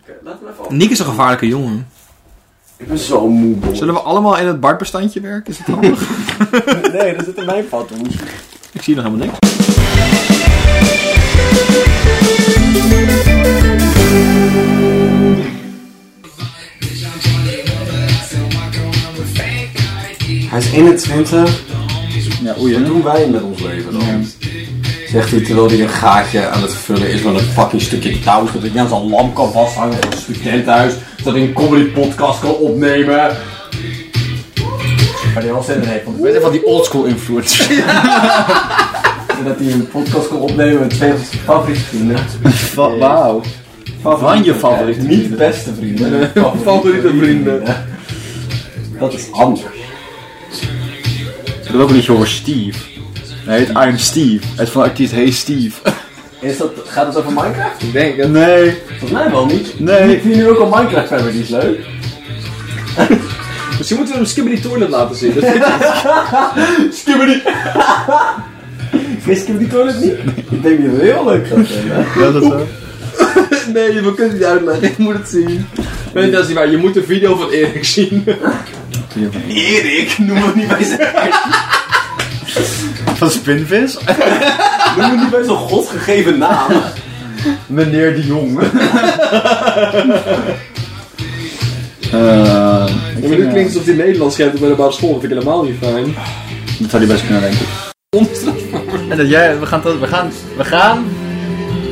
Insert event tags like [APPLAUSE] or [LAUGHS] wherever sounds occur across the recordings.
Oké, laten we even op. Nick is een gevaarlijke jongen. Ik ben zo moe, boy. Zullen we allemaal in het Bart-bestandje werken? Is het handig? Nee, dat zit in mijn vat, hoes. Ik zie nog helemaal niks. Hij is 21. Ja, oei, Wat hè? doen wij met ons leven dan? Zegt hij terwijl hij een gaatje aan het vullen is met een fucking stukje touw. Zodat ik aan zijn lamp kan vasthangen van een studentenhuis. Zodat ik een comedy podcast kan opnemen. Maar die wel zin in heeft. Want ik weet Weet je van die oldschool influencers? [LAUGHS] even dat hij een podcast kan opnemen met twee van zijn favoriete vrienden. Wa- Wauw. Van je favoriete vrienden. Niet vrienden. beste vrienden. [LAUGHS] Favoriete vrienden. Dat is anders. Ik wil ook een liedje horen, Steve. Hij heet I'm Steve. Hij is van de artiest Hey Steve. Is dat, gaat het over Minecraft? Ik denk eh, het. Nee, Volgens mij wel niet. nee. Vind je nu ook al Minecraft hebben, die is leuk. Misschien moeten we hem Skibbity Toilet laten zien. Dat Skibbity! Geen Skibbity Toilet niet? Ik denk dat het heel leuk gaat zijn, hè? Ja, dat zo. Nee, we kunnen het niet uitleggen. Ik moet het zien. Nee, dat is niet waar. Je moet de video van Erik zien. Erik, noem het niet bij zijn, Van Spinvis? noem het niet bij zo'n godsgegeven naam. Meneer de Jong. [LAUGHS] Eh, Ja, maar dit eh, klinkt alsof hij Nederlands schrijft op middelbare school. Dat vind ik helemaal niet fijn. Dat zou hij best kunnen denken. En dat jij, we gaan, tot- we gaan, we gaan,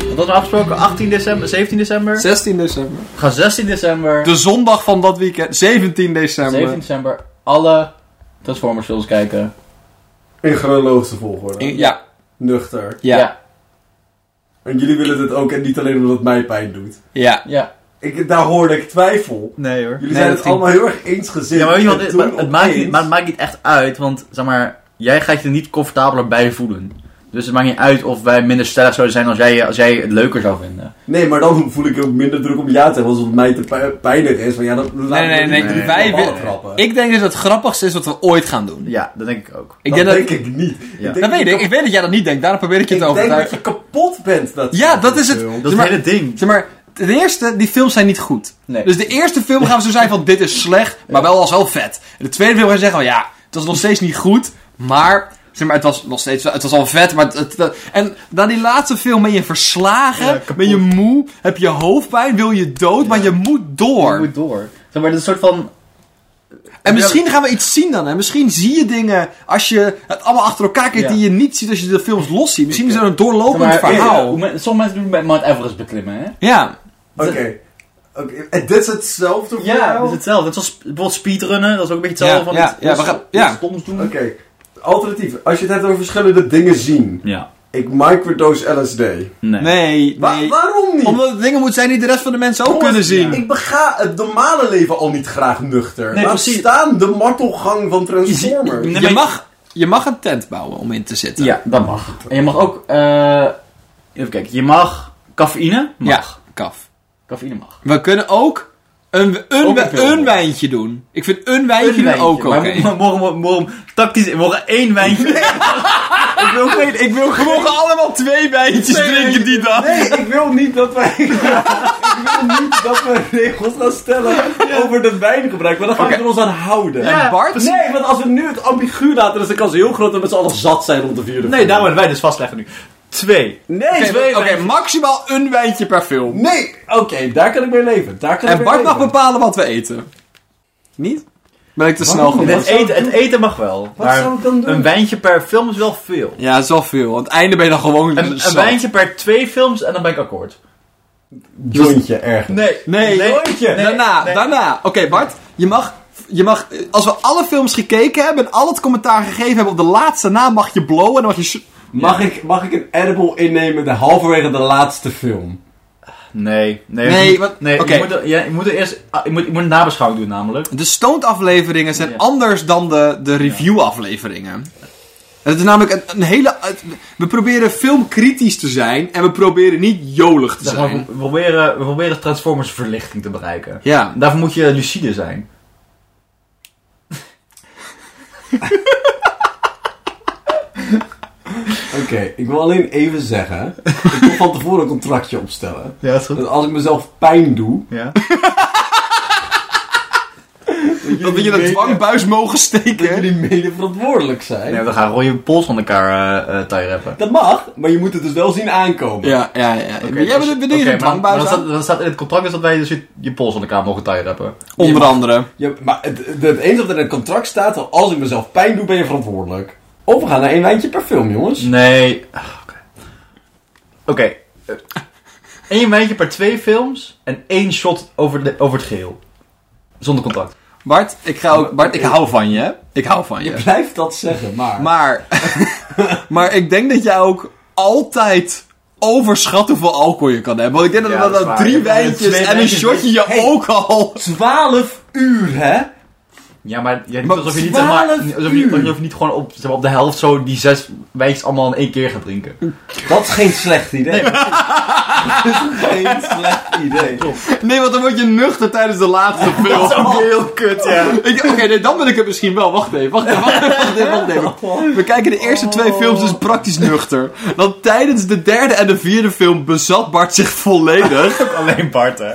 wat hadden we afgesproken? 18 december, 17 december? 16 december. We gaan 16 december, De zondag van dat weekend. 17 december. 17 december, alle Transformers films kijken. In chronologische volgorde. In- ja, Nuchter. ja, ja. En jullie willen dit ook en niet alleen omdat het mij pijn doet. Ja. Ik, daar hoorde ik twijfel. Nee hoor. Jullie Nee, zijn dat het ging- allemaal heel erg eensgezind. Ja, maar, weet je wat, En het, toen maar het maakt niet, opeens- maar het maakt niet echt uit, want zeg maar, jij gaat je er niet comfortabeler bij voelen. Dus het maakt niet uit of wij minder stellig zouden zijn als jij, als jij het leuker zou vinden. Nee, maar dan voel ik ook minder druk om ja te zeggen. Als het mij te pijn- pijnig is. Van, ja, dat, nee, Nou, Nee, nee, nee. Nee. Wij willen willen. Ik denk dus dat het grappigste is wat we ooit gaan doen. Ja, dat denk ik ook. Ik dat denk dat, denk ik niet. Ja. Ik denk dat weet dat- ik. Ik weet dat jij dat niet denkt. Daarom probeer ik je Ik te denk dat overtuigen. je kapot bent. Dat Ja, dat is het. Dat Zeg is maar- het hele ding. Zeg maar, ten eerste, die films zijn niet goed. Nee. Dus de eerste film gaan we zo zijn van dit is slecht, maar wel als wel vet. En de tweede film gaan we zeggen van ja, het was nog steeds niet goed, maar, zeg maar het was nog steeds, het was al vet, maar het, het- het- en na die laatste film ben je verslagen, ben je moe, heb je hoofdpijn, wil je dood, maar je moet door. Je moet door. Zeg maar, dat is een soort van En misschien gaan we iets zien dan, hè? misschien zie je dingen als je het allemaal achter elkaar kijkt Ja. eh, die je niet ziet als je de films los ziet. Misschien is er een doorlopend Maar, eh, ja, verhaal. hoe Ja. men- sommige mensen doen het met Mount Everest beklimmen, hè? Oké. Oké, En dit is hetzelfde voor jou? dat is hetzelfde. Net zoals sp- bijvoorbeeld speedrunnen, dat is ook een beetje hetzelfde. Ja, ja, van ja, we gaan- ja. stoms doen. Oké. Alternatief. Als je het hebt over verschillende dingen zien. Ja, Ik microdose LSD. Nee, Wa- nee. waarom niet? Omdat het dingen moeten zijn die de rest van de mensen ook Jongens, kunnen zien. Ik bega het normale leven al niet graag nuchter. Nee, Laat precies. staan de martelgang van Transformers. Nee, je, maar je- mag, je mag een tent bouwen om in te zitten. ja, dat mag. En je mag ook, eh even kijken, je mag cafeïne? Mag. Ja, kaf. Cafeïne mag. We kunnen ook een, een, Ook een een, film. wijntje doen. Ik vind een wijntje, Een wijntje, ook oké. maar morgen, morgen, morgen, morgen tactisch, we mogen één [LAUGHS] wijntje. ik wil geen, [LAUGHS] ik wil [LAUGHS] We mogen allemaal twee wijntjes drinken die dag. Nee, ik wil niet dat wij. [LAUGHS] ik wil niet dat we regels gaan stellen over de wijngebruik. Maar dan gaan we Oké. er ons aan houden. En Bart? Nee, want als we nu het ambigu laten, dan is de kans heel groot dat we met z'n allen zat zijn om te vieren. Nee, daarom hebben wij dus vastleggen nu. Twee. Nee, Oké, twee Oké, maximaal een wijntje per film. Nee, oké, daar kan ik mee leven. Daar kan En ik Bart mee mag leven. bepalen wat we eten. Niet? Ben ik te snel niet? geworden? Het eten, het eten mag wel. Wat maar zou ik dan doen? Een wijntje per film is wel veel. Ja, dat is wel veel. Aan het einde ben je dan gewoon Een, zat. een wijntje per twee films en dan ben ik akkoord. Jointje Dus- erg. Nee. Nee, Jointje. Nee. daarna, daarna. Oké, Bart, je mag, je mag. eh, Als we alle films gekeken hebben en al het commentaar gegeven hebben op de laatste na, mag je blowen en dan mag je. s- Mag, ik, mag ik een edible innemen de halverwege de laatste film? Nee. Nee. Nee, je- wat- nee oké. je, moet, er- ja, je moet er eerst... ah, Je moet, je moet een nabeschouwing doen namelijk. De stoned-afleveringen zijn Ja. anders dan de, de review-afleveringen. Het is namelijk een, een hele. het- we proberen filmkritisch te zijn en we proberen niet jolig te Zeg maar, we, zijn. proberen, we proberen Transformers verlichting te bereiken. Ja. Daarvoor moet je lucide zijn. Oké, ik wil alleen even zeggen. Ik wil van tevoren een contractje opstellen. Ja, is Dat als ik mezelf pijn doe. Ja. Dat we je een mede- dwangbuis mogen Dat steken. jullie mede verantwoordelijk zijn. Nee, we gaan gewoon je pols van elkaar eh eh tie rappen. Dat mag, maar je moet het dus wel zien aankomen. Ja, ja, ja. Oké, Jij dus- bent benieuwd oké, een maar- dwangbuis maar aan? dan staat, dan staat in het contract dus dat wij dus je, je pols van elkaar mogen tie rappen. Onder andere. Ja, maar het, het, het enige wat er in het contract staat, dat als ik mezelf pijn doe, ben je verantwoordelijk. Of we gaan naar één lijntje per film, jongens. Nee. Ah, Oké. Oké. eh, Eén wijntje per twee films en één shot over, de, over het geheel. Zonder contract. Bart, ik, ga ook, Bart, ik hou van je. hè? Ik hou van Je [LAUGHS] je. blijft dat zeggen, maar... Maar, [LAUGHS] maar ik denk dat jij ook altijd overschat hoeveel alcohol je kan hebben. Want ik denk dat Ja, dat, dat is waar. drie Ja, wijntjes twee en een wijntjes shotje je Hey. ook al... [LAUGHS] 12 uur, hè? Ja, maar jij doet Maar alsof je niet, zeg maar, 12 alsof je, uur. alsof je niet gewoon op, zeg maar, op de helft zo die zes wijntjes allemaal in één keer gaat drinken. Dat is geen slecht idee. [LAUGHS] dat is geen slecht idee. Nee, want dan word je nuchter tijdens de [LAUGHS] laatste film. ook heel kut, ja. Ik- Oké, nee, dan ben ik het misschien wel. Wacht even, wacht even, wacht even, wacht even. Wacht even. We kijken de eerste twee films dus praktisch nuchter. Dan tijdens de derde en de vierde film bezat Bart zich volledig. [LAUGHS] Alleen Bart, hè.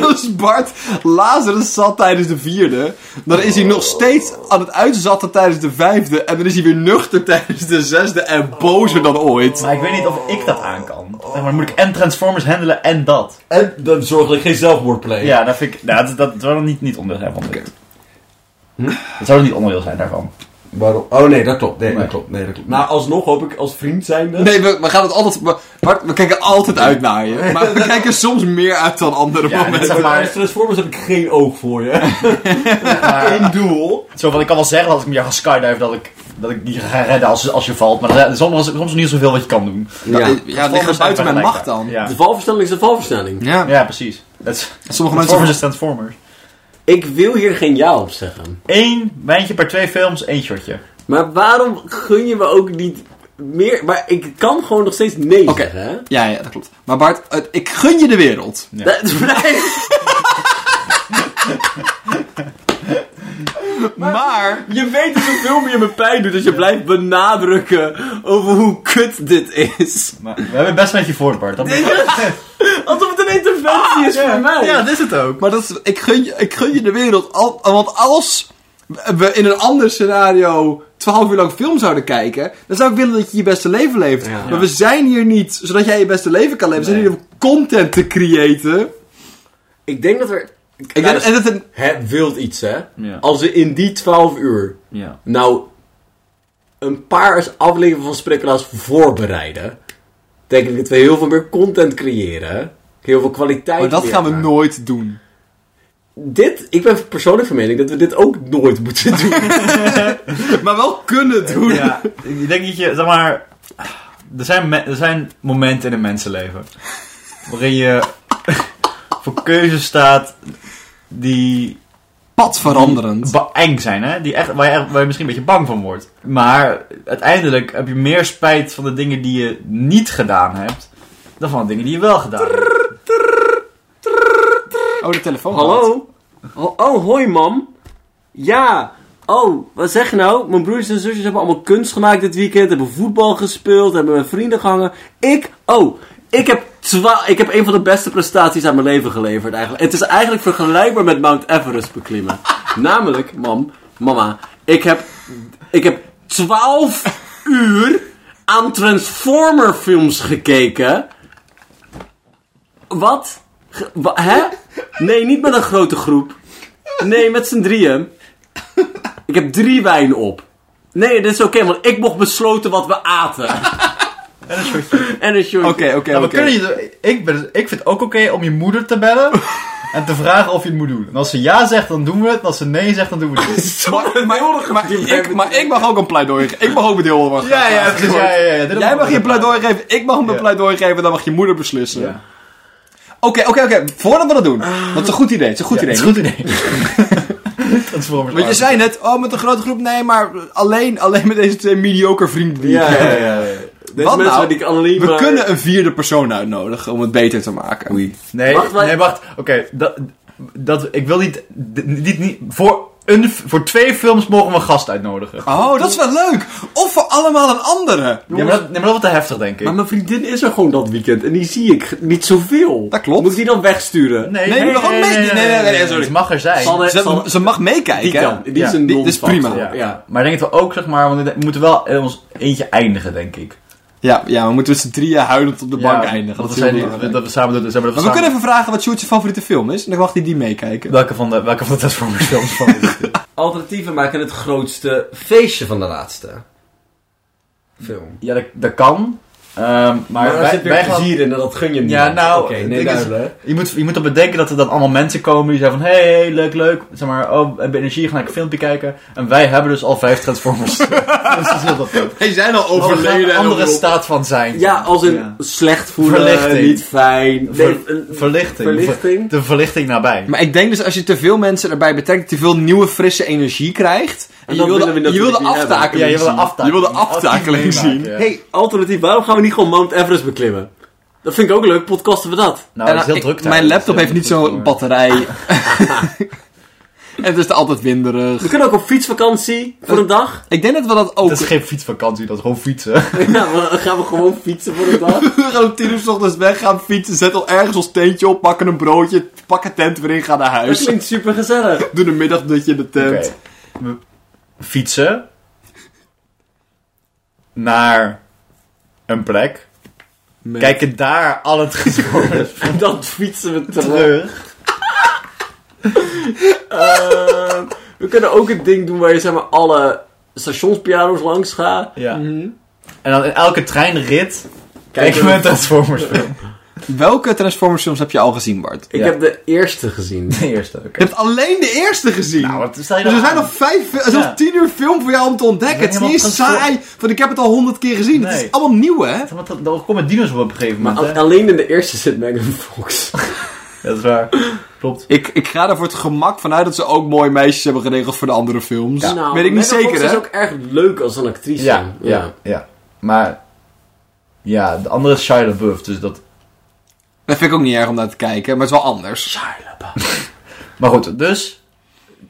Dus Bart Lazarus zat tijdens de vierde. Dan is hij nog steeds aan het uitzatten tijdens de vijfde. En dan is hij weer nuchter tijdens de zesde en bozer dan ooit. Maar ik weet niet of ik dat aan kan. Zeg maar, dan moet ik en Transformers handelen en dat? [LAUGHS] En dan zorg dat ik geen zelfmoord pleeg. Ja, dat vind ik... nou, dat, dat zou dan niet, niet onderdeel zijn van dit. Dat zou dan niet onderdeel zijn daarvan. Waarom? Oh nee, dat klopt. Nee, Nee. dat klopt. Nee, dat klopt. Maar alsnog hoop ik als vriend zijnde... Nee, we, we gaan het altijd. we- Bart, we kijken altijd uit naar je. Maar we kijken soms meer uit dan andere Ja, momenten. dit Zeg Zeg maar, maar- bij Transformers dus heb ik geen oog voor je. Eén doel. Zo van, ik kan wel zeggen dat ik met jou ga skydiven, dat ik, dat ik die ga redden als, als je valt. Maar er zijn soms, soms is niet zoveel wat je kan doen. Ja, ja, het ligt er buiten mijn macht dan. Ja. Ja, De valversnelling is de valversnelling. ja precies. Dat is, Sommige Transformers mensen. is Transformers. Ik wil hier geen ja op zeggen. Eén wijntje per twee films, één shotje. Maar waarom gun je me ook niet meer... Maar ik kan gewoon nog steeds nee Oké. zeggen, hè? Ja, ja, dat klopt. Maar Bart, het- ik gun je de wereld. Ja. Dat [LAUGHS] blijft... Maar. Je weet dus hoeveel meer me pijn doet als je blijft benadrukken over hoe kut dit is. Maar we hebben best met je voor, Bart. Dat Alsof het een interventie Ah, is voor mij. dat is het ook. Maar dat is, ik, gun je, ik gun je de wereld. Al, want als we in een ander scenario 12 uur lang film zouden kijken, dan zou ik willen dat je je beste leven leeft. Ja. Maar we zijn hier niet zodat jij je beste leven kan leven. We zijn Nee. hier om content te creëren. Ik denk dat er... Ik denk, en dat een, Het wilt iets, hè? Ja. Als we in die 12 uur Ja. nou een paar afleveringen van Sprekkelaars voorbereiden, denk ik dat we heel veel meer content creëren. Heel veel kwaliteit. maar dat weer gaan we maken. nooit doen. Dit, ik ben persoonlijk van mening dat we dit ook nooit [LAUGHS] moeten doen. [LAUGHS] Maar wel kunnen doen. Ja, ik denk dat je, zeg maar... Er zijn, me- er zijn momenten in een mensenleven... waarin je [LAUGHS] voor keuzes staat die Pad veranderend. ba- eng zijn, hè? Die echt, waar, je, echt- waar je misschien een beetje bang van wordt. Maar uiteindelijk heb je meer spijt van de dingen die je niet gedaan hebt... dan van de dingen die je wel gedaan hebt. Oh, de telefoon. gaat. Hallo? Oh, oh, hoi mam. Ja. Oh, wat zeg je nou? Mijn broers en zusjes hebben allemaal kunst gemaakt dit weekend. Hebben voetbal gespeeld. Hebben met vrienden gehangen. Ik, oh, ik heb, twa- ik heb een van de beste prestaties aan mijn leven geleverd eigenlijk. Het is eigenlijk vergelijkbaar met Mount Everest beklimmen. [LAUGHS] Namelijk, mam, mama, ik heb, ik heb 12 uur aan Transformer films gekeken. Wat? Ge- wa- hè? Nee, niet met een grote groep. Nee, met z'n drieën. Ik heb drie wijn op. Nee, dit is oké, want ik mocht besloten wat we aten. En een shotje. En een shortje. Oké, oké, Nou, we oké. kunnen je, ik, ben, ik vind het ook oké om je moeder te bellen [LAUGHS] en te vragen of je het moet doen. En als ze ja zegt, dan doen we het. En als ze nee zegt, dan doen we het niet. Maar, maar, maar ik, maar ik mag ook een pleidooi geven. Ik mag ook een deel over. [LAUGHS] Ja, ja, precies, Dus ja, ja, ja. Dit Jij mag moet- je pleidooi geven, ik mag mijn Ja. pleidooi geven, dan mag je moeder beslissen. Ja. Oké, oké, oké. Voordat we dat doen. Dat is een goed idee. Het is een goed [LAUGHS] Ja, idee. dat is een goed idee. Transformers. Want je zei net, oh, met een grote groep. Nee, maar alleen, alleen met deze twee mediocre vrienden. die ik Ja, heb. ja, ja. ja, ja. Deze Wat mensen nou? die ik eh, alleen We maar- kunnen een vierde persoon uitnodigen om het beter te maken. Nee, Wacht, wacht. maar- Nee, wacht. Oké, dat, dat, ik wil niet, dit- niet, niet... Voor een, f- voor twee films mogen we een gast uitnodigen. Oh, dat is wel leuk. Of voor allemaal een andere. Ja, maar dat, nee, maar dat wordt te heftig, denk ik. Maar mijn vriendin is er gewoon dat weekend en die zie ik niet zoveel. Dat klopt. Moet ik die dan wegsturen? nee, we mogen ook mee- nee, nee, nee, nee, sorry. Het mag er zijn. Zal er- Ze, zal- ze mag meekijken. die kan. Die Ja, is een die- dit is non-factor. prima. Ja. Ja. Maar ik denk dat we ook, zeg maar, want we moeten wel in ons eentje eindigen, denk ik. Ja, ja, we moeten met z'n drieën huilend op de bank eindigen. Dat Want is we heel zijn niet- belangrijk. dat we samen doen. Dus hebben we Maar we samen- kunnen even vragen wat Sjoerd zijn favoriete film is. En dan mag hij die meekijken. Welke van de, welke van de Transformers films van dit [LAUGHS] is? Alternatieven maken het grootste feestje van de laatste film. Ja, dat, dat kan. Ehm, maar Maar er wij, zit weer wij gaan- plezier in en dat gun je niet. Ja, nou, Oké, het nee, ding is- duidelijk. je, moet, je moet dan bedenken dat er dan allemaal mensen komen die zeggen van... Hé, hey, leuk, leuk. Zeg maar, oh, we hebben energie, gaan lekker een filmpje kijken. En wij hebben dus al vijf Transformers. [LAUGHS] dus dat is heel wat leuk. Hey, zijn al We gaan een andere staat van zijn. Ja, als een Ja. slecht voelen, Verlichting. niet fijn. Ver- Nee, een- verlichting. Verlichting. De verlichting nabij. Maar ik denk dus als je te veel mensen erbij betrekt, te veel nieuwe frisse energie krijgt. En, En je dat wilde, willen we je natuurlijk wilde niet hebben. aftakeling Ja, je wilde zien. aftakeling. Je wilde aftakeling Aftakeling zien. maken, ja. hey, alternatief, waarom gaan we niet gewoon Mount Everest beklimmen? Dat vind ik ook leuk, podcasten we dat. Nou, En het is heel ik- druk daar. Mijn Dat is laptop heel heeft niet druk zo'n voor. batterij. [LAUGHS] en het is er altijd winderig. We kunnen ook op fietsvakantie voor een [LAUGHS] dag. Ik denk dat we dat ook... Het is geen fietsvakantie, dat is gewoon fietsen. Nou, dan gaan we gewoon fietsen voor een [LAUGHS] dag. We gaan om tien uur 's ochtends weg gaan fietsen, zetten al ergens ons tentje op, pakken een broodje, pakken tent weer in, gaan naar Dat huis. klinkt super [LAUGHS] gezellig. Doen een middagdutje in de tent. [LAUGHS] Oké. We- Fietsen. Naar een plek. Kijken daar al het gesproken [LAUGHS] Dan fietsen we terug. terug. Ehm, we kunnen ook een ding doen waar je zeg maar alle stationspiano's langs gaat. Ja. Mhm. En dan in elke treinrit kijken we een Transformers film. Welke Transformers films heb je al gezien, Bart? Ik Ja. heb de eerste [LAUGHS] gezien. [LAUGHS] De eerste, oké. Je hebt alleen de eerste gezien. Nou, wat stel je dus er nou zijn aan? nog vijf, fi- er is Ja. nog tien uur film voor jou om te ontdekken. Ik Het ben is niet eens helemaal saai, want ik heb het al honderd keer gezien. Het is Nee. allemaal nieuw, hè? Want dat- Dan komen dino's op op een gegeven Maar moment, al- hè? alleen in de eerste zit Megan Fox. Ja, dat is waar. Klopt. Ik, ik ga er voor het gemak vanuit dat ze ook mooie meisjes hebben geregeld voor de andere films. Nou, Weet ik niet Megan zeker, Fox hè? is ook erg leuk als een actrice. Ja, ja, ja. Maar... Ja, de andere is Shia LaBeouf, dus dat... Dat vind ik ook niet erg om naar te kijken, maar het is wel anders. Maar goed, dus...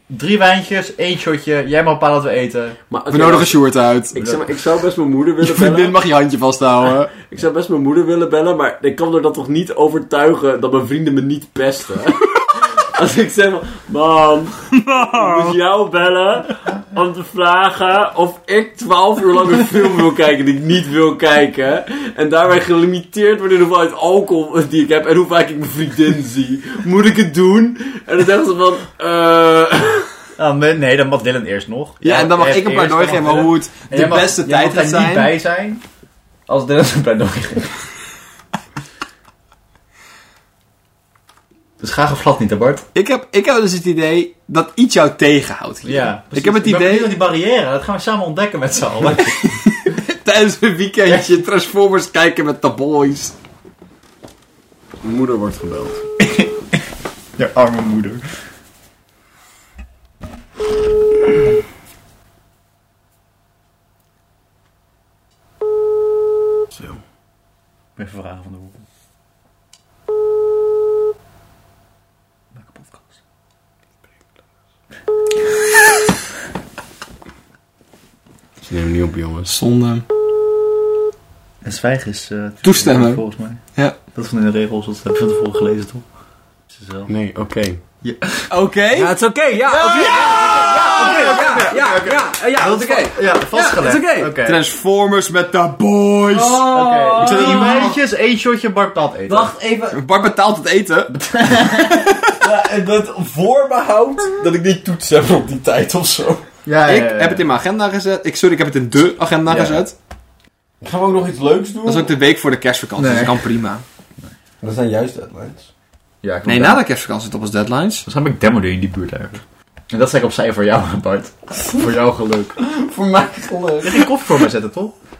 Drie wijntjes, één shotje. Jij mag bepalen wat we eten. Maar, oké, We nodigen maar- Sjoerd uit. ik, zeg maar, ik zou best mijn [LAUGHS] moeder Je willen vriendin bellen. mag je handje vasthouden. Ik zou best mijn moeder willen bellen, maar ik kan er dat toch niet overtuigen dat mijn vrienden me niet pesten. [LAUGHS] Als ik zeg van, [LAUGHS] mam, ik moet jou bellen om te vragen of ik 12 uur lang een film wil kijken die ik niet wil kijken. En daarbij gelimiteerd word in de hoeveelheid alcohol die ik heb en hoe vaak ik mijn vriendin zie. Moet ik het doen? En dan zeggen ze van, eh... [LAUGHS] Ah, nee, nee, dan mag Dylan eerst nog. Ja, en dan mag ik een pleidooi geven maar hoe het de beste tijd gaat mag daar niet zijn. bij zijn als Dylan zijn pleidooi geeft. dus ga gevlat niet, hè Bart? Ik heb, ik heb dus het idee dat iets jou tegenhoudt hier. precies. Ik heb het ben idee- benieuwd naar die barrière, dat gaan we samen ontdekken met z'n [LAUGHS] allen. Tijdens een weekendje Transformers kijken met de boys. Mijn moeder wordt gebeld. [LAUGHS] Je arme moeder. Zo. Even vragen van de hoek. Welke podcast? Ze nemen niet op, jongens. Zonde. En zwijgen is... eh, Toestemmen. Volgens mij. Ja. Dat is van in de regels, dat heb je van tevoren gelezen, toch? Ze zelf. Nee, oké. Oké. Ja, het is oké, ja, oké. Ja, ja, ja, ja, ja, ja, ja, dat is oké. Ah, Ja, vastgelegd. Ja, is oké. Transformers met de boys. Oké, ik zet drie wijntjes, één shotje Bart Plat eten. Wacht [LAUGHS] even. Bart betaalt het eten. eh, dat voorbehoud dat ik niet toets heb op die tijd of zo. Ja, ik heb het in mijn agenda gezet. Ik, sorry, ik heb het in de agenda Ja. gezet. Gaan we ook nog iets leuks doen? Dat is ook de week voor de kerstvakantie. Nee. Dus dat kan prima. Dat zijn juist deadlines. Ja, Nee, na de kerstvakantie zit op als deadlines. Dus heb ik Demmoder in die buurt eigenlijk. En dat zeg [LAUGHS] ik opzij voor jou, Bart. voor jouw geluk. Voor mij geluk. Je ging koffie voor mij zetten, toch?